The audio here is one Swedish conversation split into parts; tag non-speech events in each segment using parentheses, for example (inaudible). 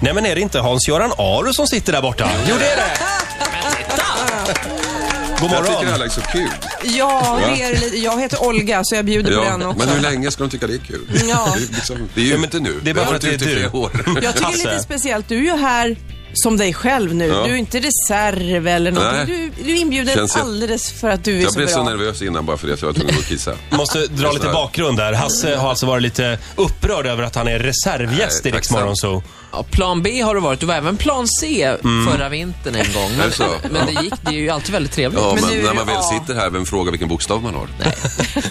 Nej, men är det inte Hans-Göran Aro som sitter där borta? Jo, det är det. God Jag tycker det här morgon. är så kul. Ja, det är lite. Jag heter Olga så jag bjuder på Ja, den också. men hur länge ska de tycka det är kul? Ja. Det, är liksom, det är ju inte nu. det är bara Vi för har att det är inte gjort du. i flera år. Jag tycker det är lite Hasse. speciellt. Du är ju här som dig själv nu. Du är inte reserv eller någonting. Nej. Du, du är inbjuden Känns jag- alldeles för att du är Jag så bra. blev så nervös innan bara för det så jag var tvungen att gå och kissa. Måste dra lite bakgrund där. Hasse har alltså varit lite upprörd över att han är reservgäst Nej, i Rix tacksam. Morgon Zoo. Ja, plan B har du varit. Du var även plan C förra vintern en gång. Mm. (laughs) Är Men, det så? men det gick, det är ju alltid väldigt trevligt. Ja, Men men, nu är när det man väl A. sitter här, vem frågar vilken bokstav man har? Nej.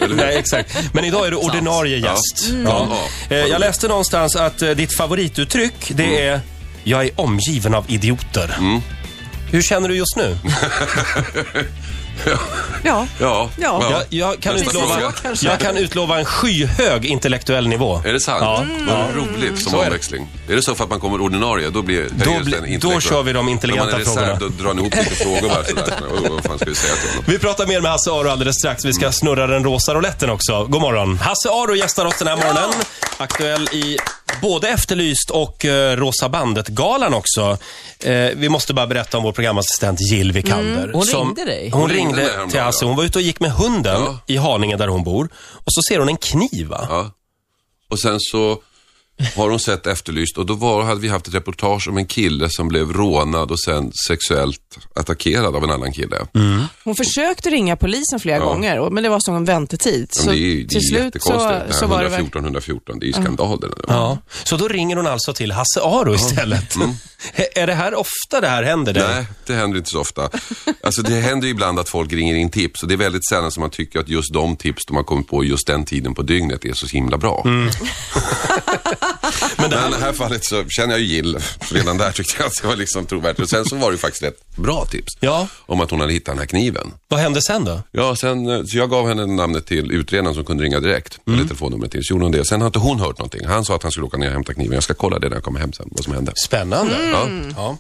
Eller hur? Nej, exakt. Men idag är du ordinarie Ja. gäst. Mm. Ja. Ja. Eh, Jag läste någonstans att eh, ditt favorituttryck, det Mm. är “Jag är omgiven av idioter”. Hur känner du just nu? Ja. Ja. Ja. Jag, jag, kan, Nästa utlova, fråga. jag kan utlova en skyhög intellektuell nivå. Är det sant? Mm. Ja. Mm. Vad roligt som Så är det. omväxling. Är det så för att man kommer ordinarie, då blir Då, höjs bli- den intellektuellt. då kör vi de När intelligenta man är reserv, frågorna. då drar ni ihop lite frågor bara (laughs) sådär. Oh, vad fan ska vi säga till honom? Vi pratar mer med Hasse Aro alldeles strax. Vi ska snurra den rosa rouletten också. God morgon. Hasse Aro gästar oss den här morgonen. Aktuell i både Efterlyst och eh, Rosa Bandet-galan också. Eh, vi måste bara berätta om vår programassistent Jill Vikander. Mm. Hon ringde dig. Hon, Hon ringde mig ringde häromdagen, till Hasse. ja. Hon var ute och gick med hunden Ja. i Haninge där hon bor. Och så ser hon en kniv va? Ja. Och sen så har hon sett Efterlyst och då var, hade vi haft ett reportage om en kille som blev rånad och sen sexuellt attackerad av en annan kille. Hon försökte ringa polisen flera gånger, och- men det var som en väntetid. Men Så det är, ju- det till är slut så, jättekonstigt. så det här var det 114, 114, det är ju skandal det där. Ja. Så då ringer hon alltså till Hasse Aro istället. (laughs) Är det här ofta det här händer dig? Mm. Nej, det händer inte så ofta. Alltså det händer ju ibland att folk ringer in tips och det är väldigt sällan som man tycker att just de tips de har kommit på just den tiden på dygnet är så himla bra. Men, i det här fallet så känner jag ju Jill redan där tyckte jag att det var liksom trovärdigt. Och sen så var det ju faktiskt ett bra tips Ja. om att hon hade hittat den här kniven. Vad hände sen då? Ja, sen, eh, så jag gav henne namnet till utredaren som kunde ringa direkt. Eller telefonnumret till. Så gjorde hon det. Sen har inte hon hört någonting. Han sa att han skulle åka ner och hämta kniven. Jag ska kolla det när jag kommer hem sen, vad som hände. Spännande. Ja. Ja.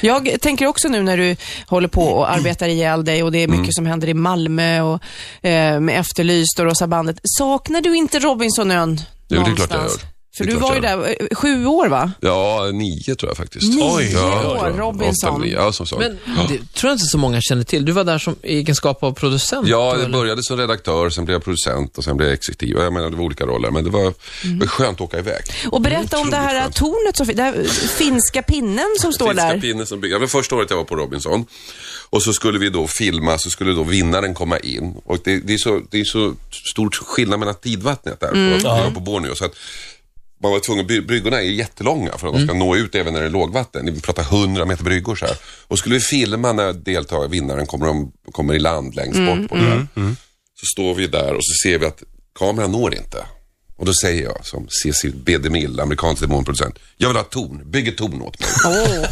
Jag tänker också nu när du håller på och arbetar ihjäl dig och det är mycket Mm. som händer i Malmö och eh, med Efterlyst och Rosa bandet. Saknar du inte Robinsonön det är klart jag någonstans? gör. För Det är du klart var ju jag där eh, sju år va? Ja, nio tror jag faktiskt. Nio Oj, ja, år, ja, ja. Robinson. Åtta, nio, ja, som sagt. Men det tror jag inte så många känner till. Du var där som i egenskap av producent. Ja, då, jag eller? började som redaktör, sen blev jag producent och sen blev jag exekutiv. Jag menar, det var olika roller, men det var, det var skönt att åka iväg. Och berätta om det här skönt. tornet, som, fi- det här eh, finska pinnen som står Finska där. pinnen som bygger. Det var första året jag var på Robinson. Och så skulle vi då filma, så skulle då vinnaren komma in. Och det, det, är, så, det är så stor skillnad mellan tidvattnet där Mm. på, ja. på Borneo. Så att man var tvungen, by- bryggorna är jättelånga för att de Mm. ska nå ut även när det är lågvatten. Vi pratar 100 meter bryggor så här. Och skulle vi filma när deltagare, vinnaren kommer, om- kommer i land längst Mm. bort på det här. Så står vi där och så ser vi att kameran når inte. Och då säger jag som Cecil B. DeMille, amerikansk demonproducent. Jag vill ha ett torn, bygg ett torn åt mig. Åh,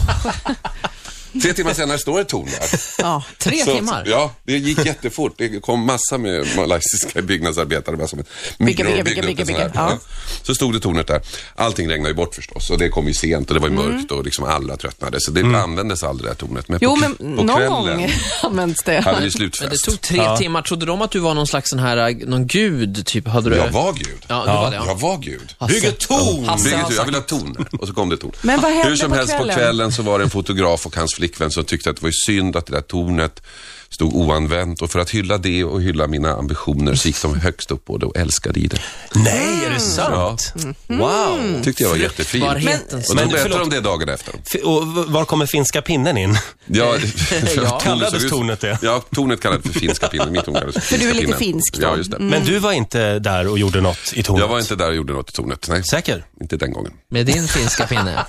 Tre timmar senare står ett torn där. ja. Tre Så- timmar? Ja, det gick jättefort. Det kom massa med malaysiska byggnadsarbetare. bara Som ett Bygga, mikro- bygga, bygga, byggde upp bygga, en sån bygga. här. Ja. Så stod det tornet där. Allting regnade ju bort förstås och det kom ju sent och det var ju mörkt och liksom alla tröttnade. Så det användes aldrig det här tornet. Men Mm. Jo, på, men på någon gång kvällen (laughs) används det. hade vi Men det slutfest. tog tre timmar. Trodde de att du var någon slags sån här, eh, någon gud, typ? Hade du... Jag var Gud. Ja, du var det. Ja. Jag var Gud. Hasse. Bygg ett torn! Hasse Bygg ett har torn. Jag sagt- vill ha torn. Och så kom det torn. Men vad hände Hur som på helst på kvällen? kvällen så var det en fotograf och hans flickvän som tyckte att det var ju synd att det där tornet stod oanvänt och för att hylla det och hylla mina ambitioner så gick de högst upp på det och älskade i det. Nej, är det sant? Wow! Tyckte jag var jättefint. Fruktbarhetens Och de Men- berättade förlåt. om det dagen efter. F- Och v- var kommer finska pinnen in? Ja, (laughs) tornet Kallades såg ut- tornet det? Ja, tornet kallades för finska pinnen. Mitt torn kallades för du är finska pinnen. lite finsk då. Ja, just det. Men du var inte där och gjorde något i tornet? Jag var inte där och gjorde något i tornet. Nej, Säker? inte den gången. Med din finska pinne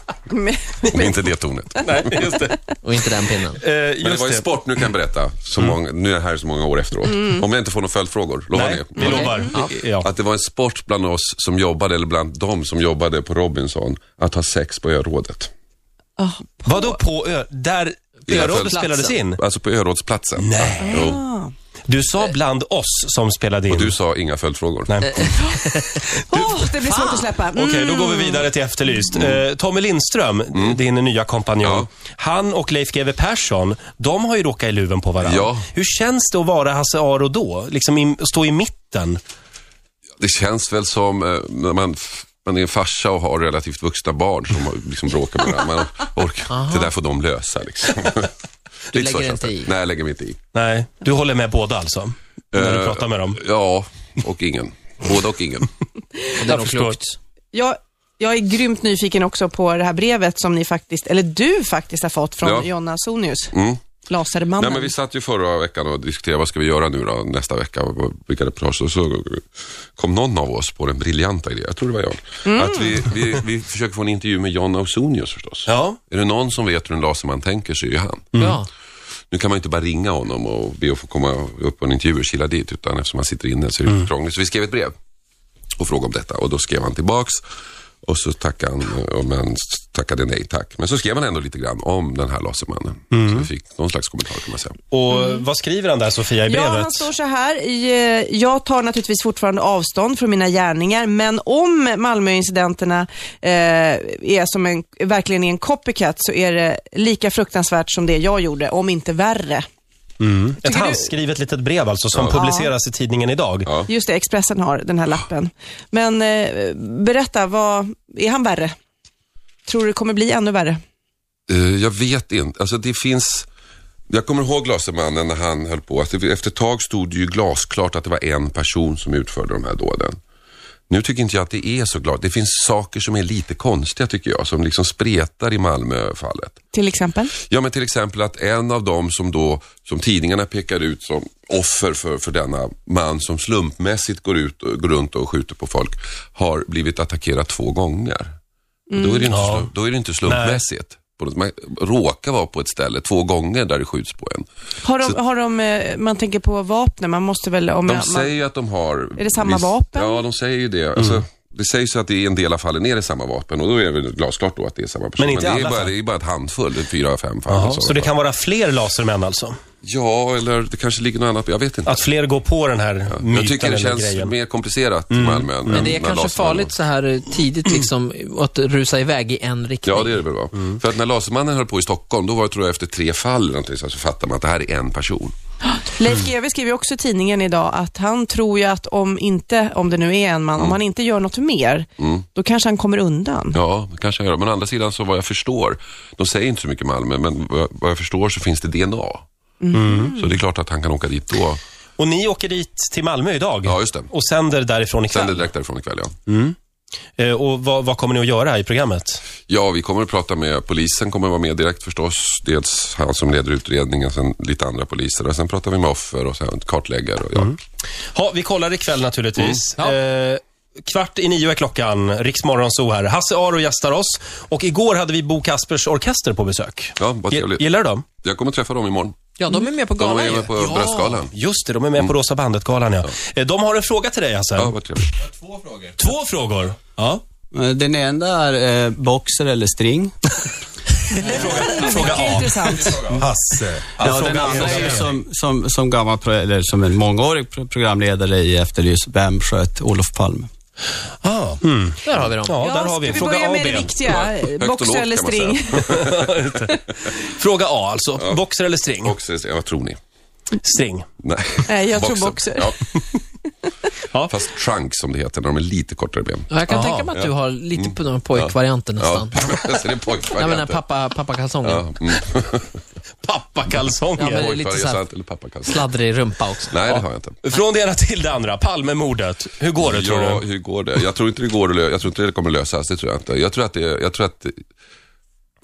Inte det tornet. Nej, just det. och inte den pinnen. Men (laughs) Eh, det just var ju det. sport, nu kan jag berätta. Så många, nu är jag här så många år efteråt. Om jag inte får några följdfrågor, lovar Nej, ni? vi lovar. Ja. Att det var en sport bland oss som jobbade, eller bland de som jobbade på Robinson, att ha sex på örådet. Vadå på ö... Där Inga örådet födelser. spelades in? Alltså på örådsplatsen. Nej. Jo. Du sa bland oss som spelade in. Och du Eh, sa inga följdfrågor. Nej. (laughs) Åh, det blir svårt att släppa. Mm. Okej, då går vi vidare till Efterlyst. Eh, Tommy Lindström, din nya kompanjon, Mm. Ja. han och Leif GW Persson, de har ju råkat i luven på varandra. Ja. Hur känns det att vara Hasse Aro då? Liksom i, stå i mitten? Det känns väl som eh, när man f- man är en farsa och har relativt vuxna barn som har- liksom bråkar med varandra. Man orkar, det där får de lösa. Liksom. Du lägger inte i? Nej, jag lägger mig inte i. Nej, du håller med båda alltså? När du Eh, pratar med dem? Ja, och ingen. Både och ingen. Och det är nog förstår. klokt. Jag, jag är grymt nyfiken också på det här brevet som ni faktiskt, eller du faktiskt har fått från Ja. Jonna Sonius, Mm. Lasermannen. Nej, men vi satt ju förra veckan och diskuterade vad ska vi göra nu då, nästa vecka, vad- vilka reportage. Och så kom någon av oss på den briljanta idén, jag tror det var jag, att vi, vi, vi försöker få en intervju med John Ausonius förstås. Ja. Är det någon som vet hur en laserman tänker så är ju han. Ja. Nu kan man ju inte bara ringa honom och be att få komma upp på en intervju och kila dit, utan eftersom han sitter inne så är det mm. krångligt. Så vi skrev ett brev och frågade om detta och då skrev han tillbaks och så tackade han, och men tackade nej tack. Men så skrev han ändå lite grann om den här lasermannen. Så vi fick någon slags kommentar kan man säga. Och vad skriver han där, Sofia, i brevet? Ja, han står så här. I, eh, jag tar naturligtvis fortfarande avstånd från mina gärningar, men om Malmöincidenterna eh, är som en, verkligen är en copycat så är det lika fruktansvärt som det jag gjorde, om inte värre. Ett Tycker du- handskrivet litet brev alltså, som publiceras i tidningen idag. Ja. Just det, Expressen har den här lappen. Men eh, berätta, vad, är han värre? Tror du det kommer bli ännu värre? Eh, jag vet inte. Alltså det finns... Jag kommer ihåg Lasermannen när han höll på. Att det, efter ett tag stod det ju glasklart att det var en person som utförde de här dåden. Nu tycker inte jag att det är så klart. Det finns saker som är lite konstiga tycker jag, som liksom spretar i Malmöfallet. Till exempel? Ja, men till exempel att en av dem som då, som tidningarna pekar ut som offer för, för denna man som slumpmässigt går, ut, och- går runt och skjuter på folk, har blivit attackerad två gånger. Och Då, är det inte Mm. Ja. slump, då är det inte slumpmässigt. På något- Man råkar vara på ett ställe två gånger där det skjuts på en. Har de, har de eh, man tänker på vapnen, man måste väl... Om De man, säger ju att de har... Är det samma vapen? Ja, de säger ju det. Mm. Alltså, det sägs ju att i en del av fallen är det samma vapen och då är det väl glasklart då att det är samma person. Men inte det, alla är bara, fall. det är bara ett handfull, det är fyra, fem fall. i Jaha, sådana så det fall. kan vara fler lasermän alltså? Ja, eller det kanske ligger något annat, jag vet inte. Att fler går på den här myten Jag tycker det eller känns grejen? mer komplicerat i Malmö än Men det är när kanske Lasermannen- farligt så här eh, tidigt liksom, att rusa iväg i en riktning. Ja, det är det väl va? För att när Lasermannen höll på i Stockholm, då var det tror jag efter tre fall eller någonting, så här, så fattar man att det här är en person. Leif GW skriver också i tidningen idag att han tror ju att om inte, om det nu är en man, om han inte gör något mer, då kanske han kommer undan. Ja, det kanske jag gör. Men å andra sidan så vad jag förstår, de säger inte så mycket i Malmö, men vad jag- vad jag förstår så finns det DNA. Så det är klart att han kan åka dit då. Och ni åker dit till Malmö idag? Ja, just det. Och sänder därifrån ikväll? Sänder direkt därifrån ikväll, ja. Eh, Och vad, vad kommer ni att göra i programmet? Ja, vi kommer att prata med polisen, kommer att vara med direkt förstås. Dels han som leder utredningen, sen lite andra poliser. Och sen pratar vi med offer och sen kartläggare och jag. Ja, vi kollar ikväll naturligtvis. Mm. Ja. Eh, Kvart i nio är klockan, Riksmorgon så här. Hasse Aro gästar oss och igår hade vi Bo Kaspers orkester på besök. Ja, vad Ge- trevligt. Gillar du dem? Jag kommer att träffa dem imorgon. Ja, de är med på De galan är ju. med på ja. Bröstgalan. Just det, de är med på Rosa Bandet-galan ja. Eh, De har en fråga till dig Hasse. Mm. Ja, vad trevligt. Två frågor. Två frågor. Ja. Eh, Den ena är eh, boxer eller string. Fråga A. Intressant. Hasse. Ja, den andra är ju som, som, som gammal, pro, eller som en mångårig pro- programledare i Efterlyst. Vem sköt Olof Palme? Ah. Där har vi dem. Ja, där har ska vi. vi Fråga börja A och med B. det viktiga? och lågt, Boxer eller kan man string? Fråga A alltså. Boxer eller string? Boxer, ja, vad tror ni? String. Nej. (laughs) Nej, jag tror boxer. Ja. (laughs) Ja. Fast trunk som det heter, när de är lite kortare ben. Ja, Jag kan Aha, tänka mig att du har lite på den pojkvarianten Ja, nästan. (laughs) så det är Nej, men den här pojkvarianten. pappa, pappakalsongen. Ja, mm. Pappakalsonger. Ja, men- Det är lite så här- Pojkvariant eller pappakalsong. Sladdrig rumpa också. Nej, det har jag inte. Från det ena till det andra. Palmemordet. Hur går det tror ja, du? hur går det? Jag tror inte det går att lö- Jag tror inte det kommer lösas, det tror jag inte. Jag tror att det, jag tror att det,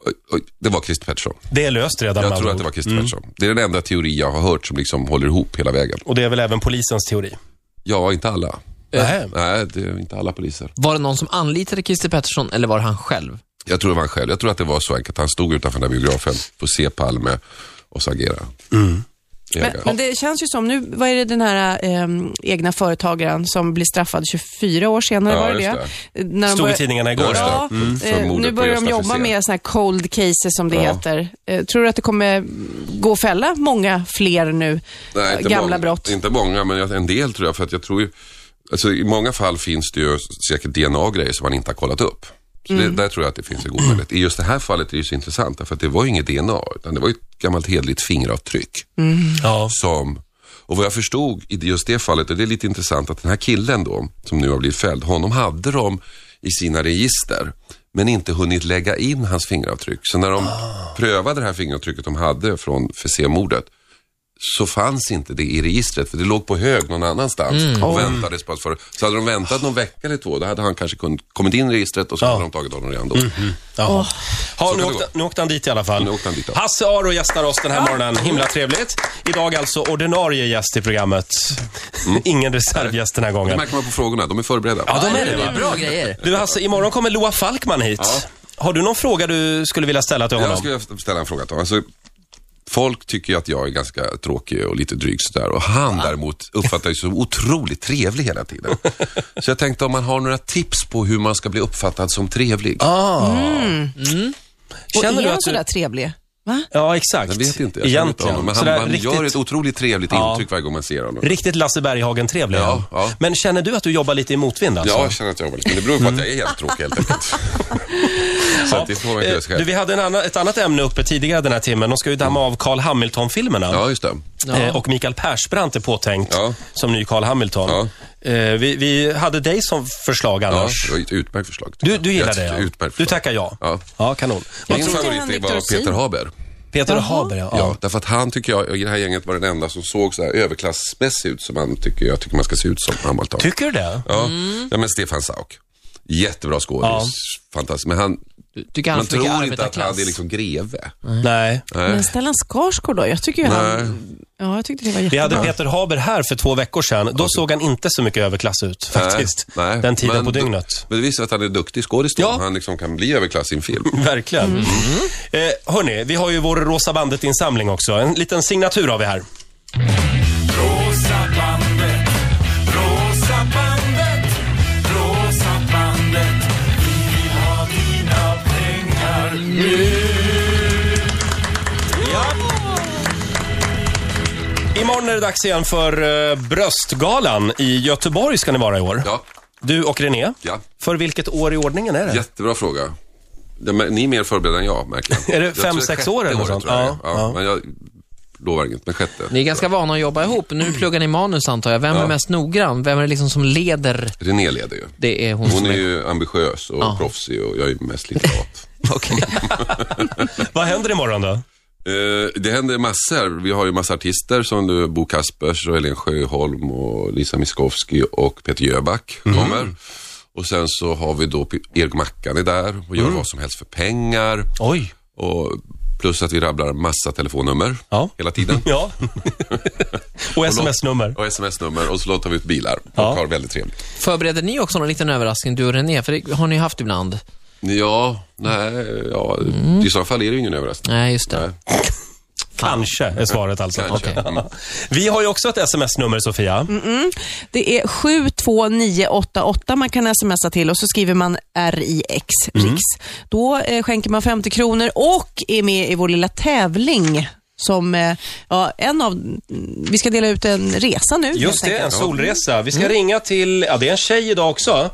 Oj, oj, det var Christer Pettersson. Det är löst redan med Jag tror andra att det var ord. Mm. Christer Pettersson. Det är den enda teori jag har hört som liksom håller ihop hela vägen. Och det är väl även polisens teori? Ja, inte alla. Nej. Nej, det är inte alla poliser. Var det någon som anlitade Christer Pettersson eller var det han själv? Jag tror det var han själv. Jag tror att det var så enkelt. Han stod utanför den där biografen, får se Palme och så agera. Det är (laughs) Men, jag. men det känns ju som, nu, vad är det den här ehm, egna företagaren som blir straffad 24 år senare, Ja, var det just det? När de Stod i börjar- tidningarna igår. Ja, Ja. Ja, För mordet eh, nu på börjar de Gösta jobba Frisell. med såna här cold cases som det Ja. heter. Eh, tror du att det kommer gå att fälla många fler nu? Nej, eh, inte gamla många, brott? Inte många, men jag- en del tror jag. För att jag tror ju, alltså, I många fall finns det ju säkert DNA-grejer som man inte har kollat upp. Så Mm. det, där tror jag att det finns en god möjlighet. I just det här fallet är det ju så intressant, därför att det var ju inget DNA, utan det var ju ett gammalt hederligt fingeravtryck. Ja. Som, och vad jag förstod i just det fallet, och det är lite intressant, att den här killen då, som nu har blivit fälld, honom hade de i sina register men inte hunnit lägga in hans fingeravtryck. Så när de prövade det här fingeravtrycket de hade från FEC-mordet så fanns inte det i registret för det låg på hög någon annanstans Mm. och väntades på att få det. Så hade de väntat någon vecka eller två, då hade han kanske kunnat kommit in i registret och så hade de tagit honom redan då. Mm. Jaha. Ja, nu, det åkte, gå. nu åkte han dit i alla fall. Nu åkte han dit, ja. Hasse Aro gästar oss den här morgonen. Himla trevligt. Idag alltså ordinarie gäst i programmet. (laughs) Ingen reservgäst den här Det gången. märker man på frågorna, Mm. de är Mm. förberedda. Ja, de är det va? är bra grejer. Du Hasse, imorgon kommer Loa Falkman hit. Har du någon fråga du skulle vilja ställa till honom? Jag skulle vilja ställa en fråga till honom. Alltså, folk tycker ju att jag är ganska tråkig och lite dryg sådär och han däremot uppfattar ju som otroligt trevlig hela tiden. (laughs) Så jag tänkte om man har några tips på hur man ska bli uppfattad som trevlig. Ah. Och Känner är du han att du... sådär trevlig? Va? Ja, exakt. Jag vet inte, jag känner inte Egentligen. honom, men han, Sådär han riktigt, gör ett otroligt trevligt Ja. intryck varje gång man ser honom. riktigt Lasse Berghagen-trevlig. Ja, Ja, ja. Men känner du att du jobbar lite i motvind alltså? Ja, jag känner att jag jobbar lite, men det beror på att jag är helt tråkig helt (laughs) enkelt. Så att det får man inte göra sig Eh, själv. Du, vi hade en annan, ett annat ämne uppe tidigare den här timmen. De ska ju damma av Carl Hamilton-filmerna. Mm. Ja, just det. Eh, Och Mikael Persbrandt är påtänkt Ja. som ny Carl Hamilton. Eh, Vi, vi hade dig som förslag Ja, annars. det var ett utmärkt förslag. Du, du gillar Ett det ja. Utmärkt Du förslag. tackar ja. Ja. Ja, kanon. Min tyckte favorit han, är Victor bara Sin? Peter Haber. Peter Haber, ja. Ja, därför att han tycker jag, i det här gänget var den enda som såg så här överklassmässig ut som han tycker, jag tycker man ska se ut som på Hamilton. Tycker du det? ja. ja, men Stefan Sauk. Jättebra skådis. Mm. Ja. Fantastisk. Men han, Tycker han man för mycket tror inte att han arbetarklass? är liksom greve. Nej. Men Stellan Skarsgård då? Jag tycker ju han... Ja, jag tyckte det var Vi jättebra. hade Peter Haber här för två veckor sedan. Då såg han inte så mycket överklass ut (laughs) faktiskt. Nej, nej. Den tiden Men på du- dygnet. Men det visar att han är duktig skådis då. Ja. Han liksom kan bli överklass i en (laughs) film. Verkligen. Eh, hörni, vi har ju vår Rosa bandet-insamling också. En liten signatur har vi här. Rosa bandet, rosa bandet, rosa bandet. Vi vill ha dina pengar nu. Imorgon är det dags igen för eh, Bröstgalan i Göteborg ska ni vara i år. Ja, Du och René, Ja. för vilket år i ordningen är det? jättebra fråga. Ja, men Ni är mer förberedda än jag, märker jag. (laughs) Är det Jag tror fem, är sex sjätte år eller året, något sånt? tror jag det Ja, är. ja. ja. Men jag lovar inget, men sjätte. Ni är ganska vana att jobba ihop. Nu pluggar ni manus antar jag. Vem är mest noggrann? Vem är det liksom som leder? René leder ju. Det är hon, Hon som är är... ju ambitiös och proffsig och jag är mest lite (laughs) lat. Okej. Vad händer imorgon då? Eh, det händer massor. Vi har ju massa artister som du, Bo Kaspers och Helen Sjöholm och Lisa Miskovsky och Peter Jöback Mm. kommer. Och sen så har vi då P- Erik Mackan är där och gör Mm. vad som helst för pengar. Oj. Och plus att vi rabblar massa telefonnummer Ja. hela (laughs) tiden. Ja. och sms-nummer. Och sms-nummer och så låter vi ut bilar och Ja. har väldigt trevligt. Förbereder ni också någon liten överraskning, du och René? För det har ni haft ibland. Ja, nej, ja, Mm. i så fall är det ju ingen överraskning. Nej, just det. Nej. Kanske är svaret alltså. Kanske. Okej. Mm. Vi har ju också ett sms-nummer, Sofia. Det är 72988 man kan smsa till och så skriver man RIX. Mm. Riks. Då eh, skänker man 50 kronor och är med i vår lilla tävling. Som, eh, ja, en av, mm, vi ska dela ut en resa nu. helt Just det, en enkelt. solresa. Vi ska ringa till, ja det är en tjej idag också.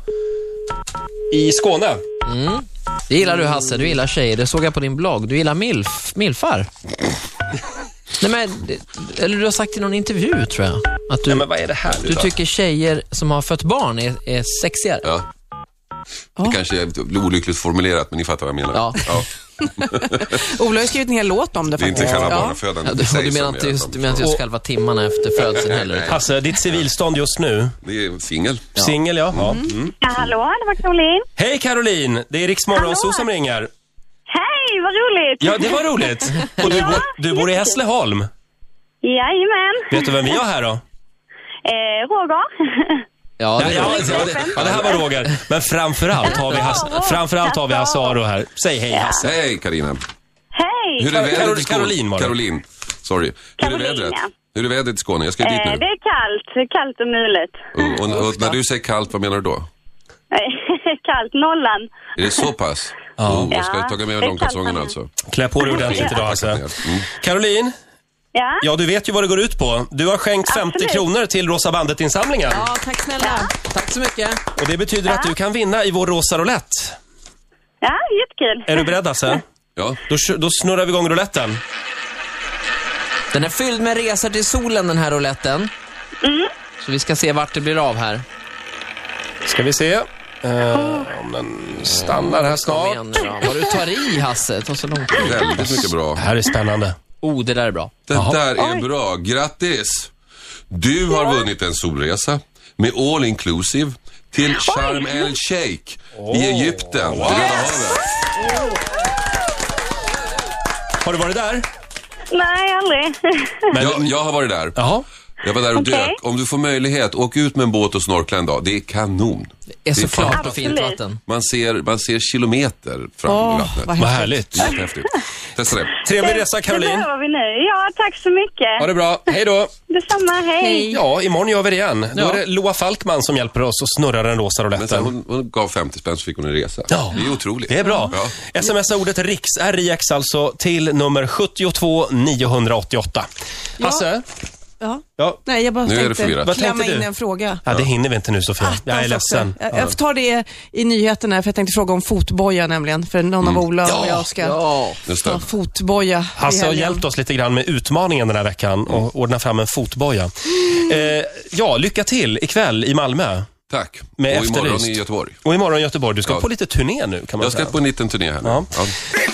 I Skåne. Det gillar du Hasse, du gillar tjejer. Det såg jag på din blogg. Du gillar milf, milfar. Nej men, det- eller du har sagt i någon intervju tror jag. Att du, Nej, men vad är det här nu du då? tycker tjejer som har fött barn är, är sexigare. Ja. Det kanske är olyckligt formulerat, men ni fattar vad jag menar. Ja. Ola har skrivit en hel låt om det Det är faktiskt. inte själva ja. barnafödandet Ja, i du, sig du som menar är inte just, att du de- menar inte just själva timmarna efter födseln heller? utan- Hasse, ditt civilstånd just nu. Det är singel. Singel, ja. ja. Ja, hallå, det var Caroline. Hej Caroline! Det är Rix Morgonzoo Hallå. som ringer. Hej, vad roligt! Ja, det var roligt. Och du, Ja, bor- du bor i jättekul. Hässleholm. Jajamän. Vet du vem vi har här då? Eh, Roger. (laughs) Ja, det, Ja, ja, det, ja, det här var Roger. Men framförallt har vi Hasse, framförallt har vi Hasse Aro här. Säg hej Hasse. Hej Karina. Hej! Hur är vädret i Skåne? Caroline var det. Caroline. Sorry. Hur är Carolina. vädret? Hur är vädret i Skåne? Jag ska ju dit eh, nu. det är kallt, kallt och mulet. Och, och, och när du säger kallt, vad menar du då? Eh, (laughs) kallt, nollan. Är det så pass? Oh, jag ska Ja, ta med det mig är kallt långkalsongerna här. alltså. Klä på dig ordentligt idag Hasse. Caroline, Ja, ja du vet ju vad det går ut på. Du har skänkt 50 Absolut. kronor till Rosa Bandet-insamlingen. ja, tack snälla. tack så mycket. Och det betyder att du kan vinna i vår Rosa Roulette. ja jättekul. Är du beredd Hasse? Ja. Mm. Då, kö- då snurrar vi igång rouletten. Den är fylld med resor till solen den här Mm. rouletten. Så vi ska se vart det blir av här. Ska vi se. Eh, om den stannar här Kom snart. igen nu då. Vad du tar i Hasse, ta så långt. Väldigt mycket bra. Det här är spännande. Oh, det där är bra. Det där är bra. Grattis! Du har vunnit en solresa med all inclusive till Sharm el Sheikh i Egypten. Wow. Har du varit där? (laughs) Nej, aldrig. Jag, jag har varit där. Jaha. Jag var där och Okej. dök. Om du får möjlighet, åk ut med en båt och snorkla en dag. Det är kanon. Det är så fan- klart och fint Absolut. vatten. Man ser, man ser kilometer fram i Åh, vattnet. vad Vad härligt. Jättehäftigt. Testa det. Trevlig resa (laughs) Det Caroline. behöver vi nu. Ja, tack så mycket. Ha det bra. Hej då. Detsamma, hej. Ja, imorgon gör vi det igen. Då Ja. är det Loa Falkman som hjälper oss och snurrar den rosa Men sen, rouletten. hon, hon gav 50 spänn så fick hon en resa. Ja. Det är ju otroligt. Det är bra. Ja. Smsa ordet RIX, RIX alltså, till nummer 72 988. Hasse, Ja. ja. Nej, jag bara Nu är det tänkte förvirrat. Vad klämma tänkte in du? en fråga. Ja, det hinner vi inte nu Ah, Sofia. Jag är ledsen. Jag, jag tar det i nyheterna, för jag tänkte fråga om fotboja nämligen. För någon Mm. av Ola och jag ska Ja. Just ta det. fotboja i Hasse har helgen. hjälpt oss lite grann med utmaningen den här veckan Mm. och ordna fram en fotboja. Eh, ja, lycka till ikväll i Malmö. Tack. Med och imorgon Efterlyst. i Göteborg. Och imorgon i Göteborg. Du ska Ja. på lite turné nu kan man Jag ska säga. på en liten turné här nu. Ja. Ja.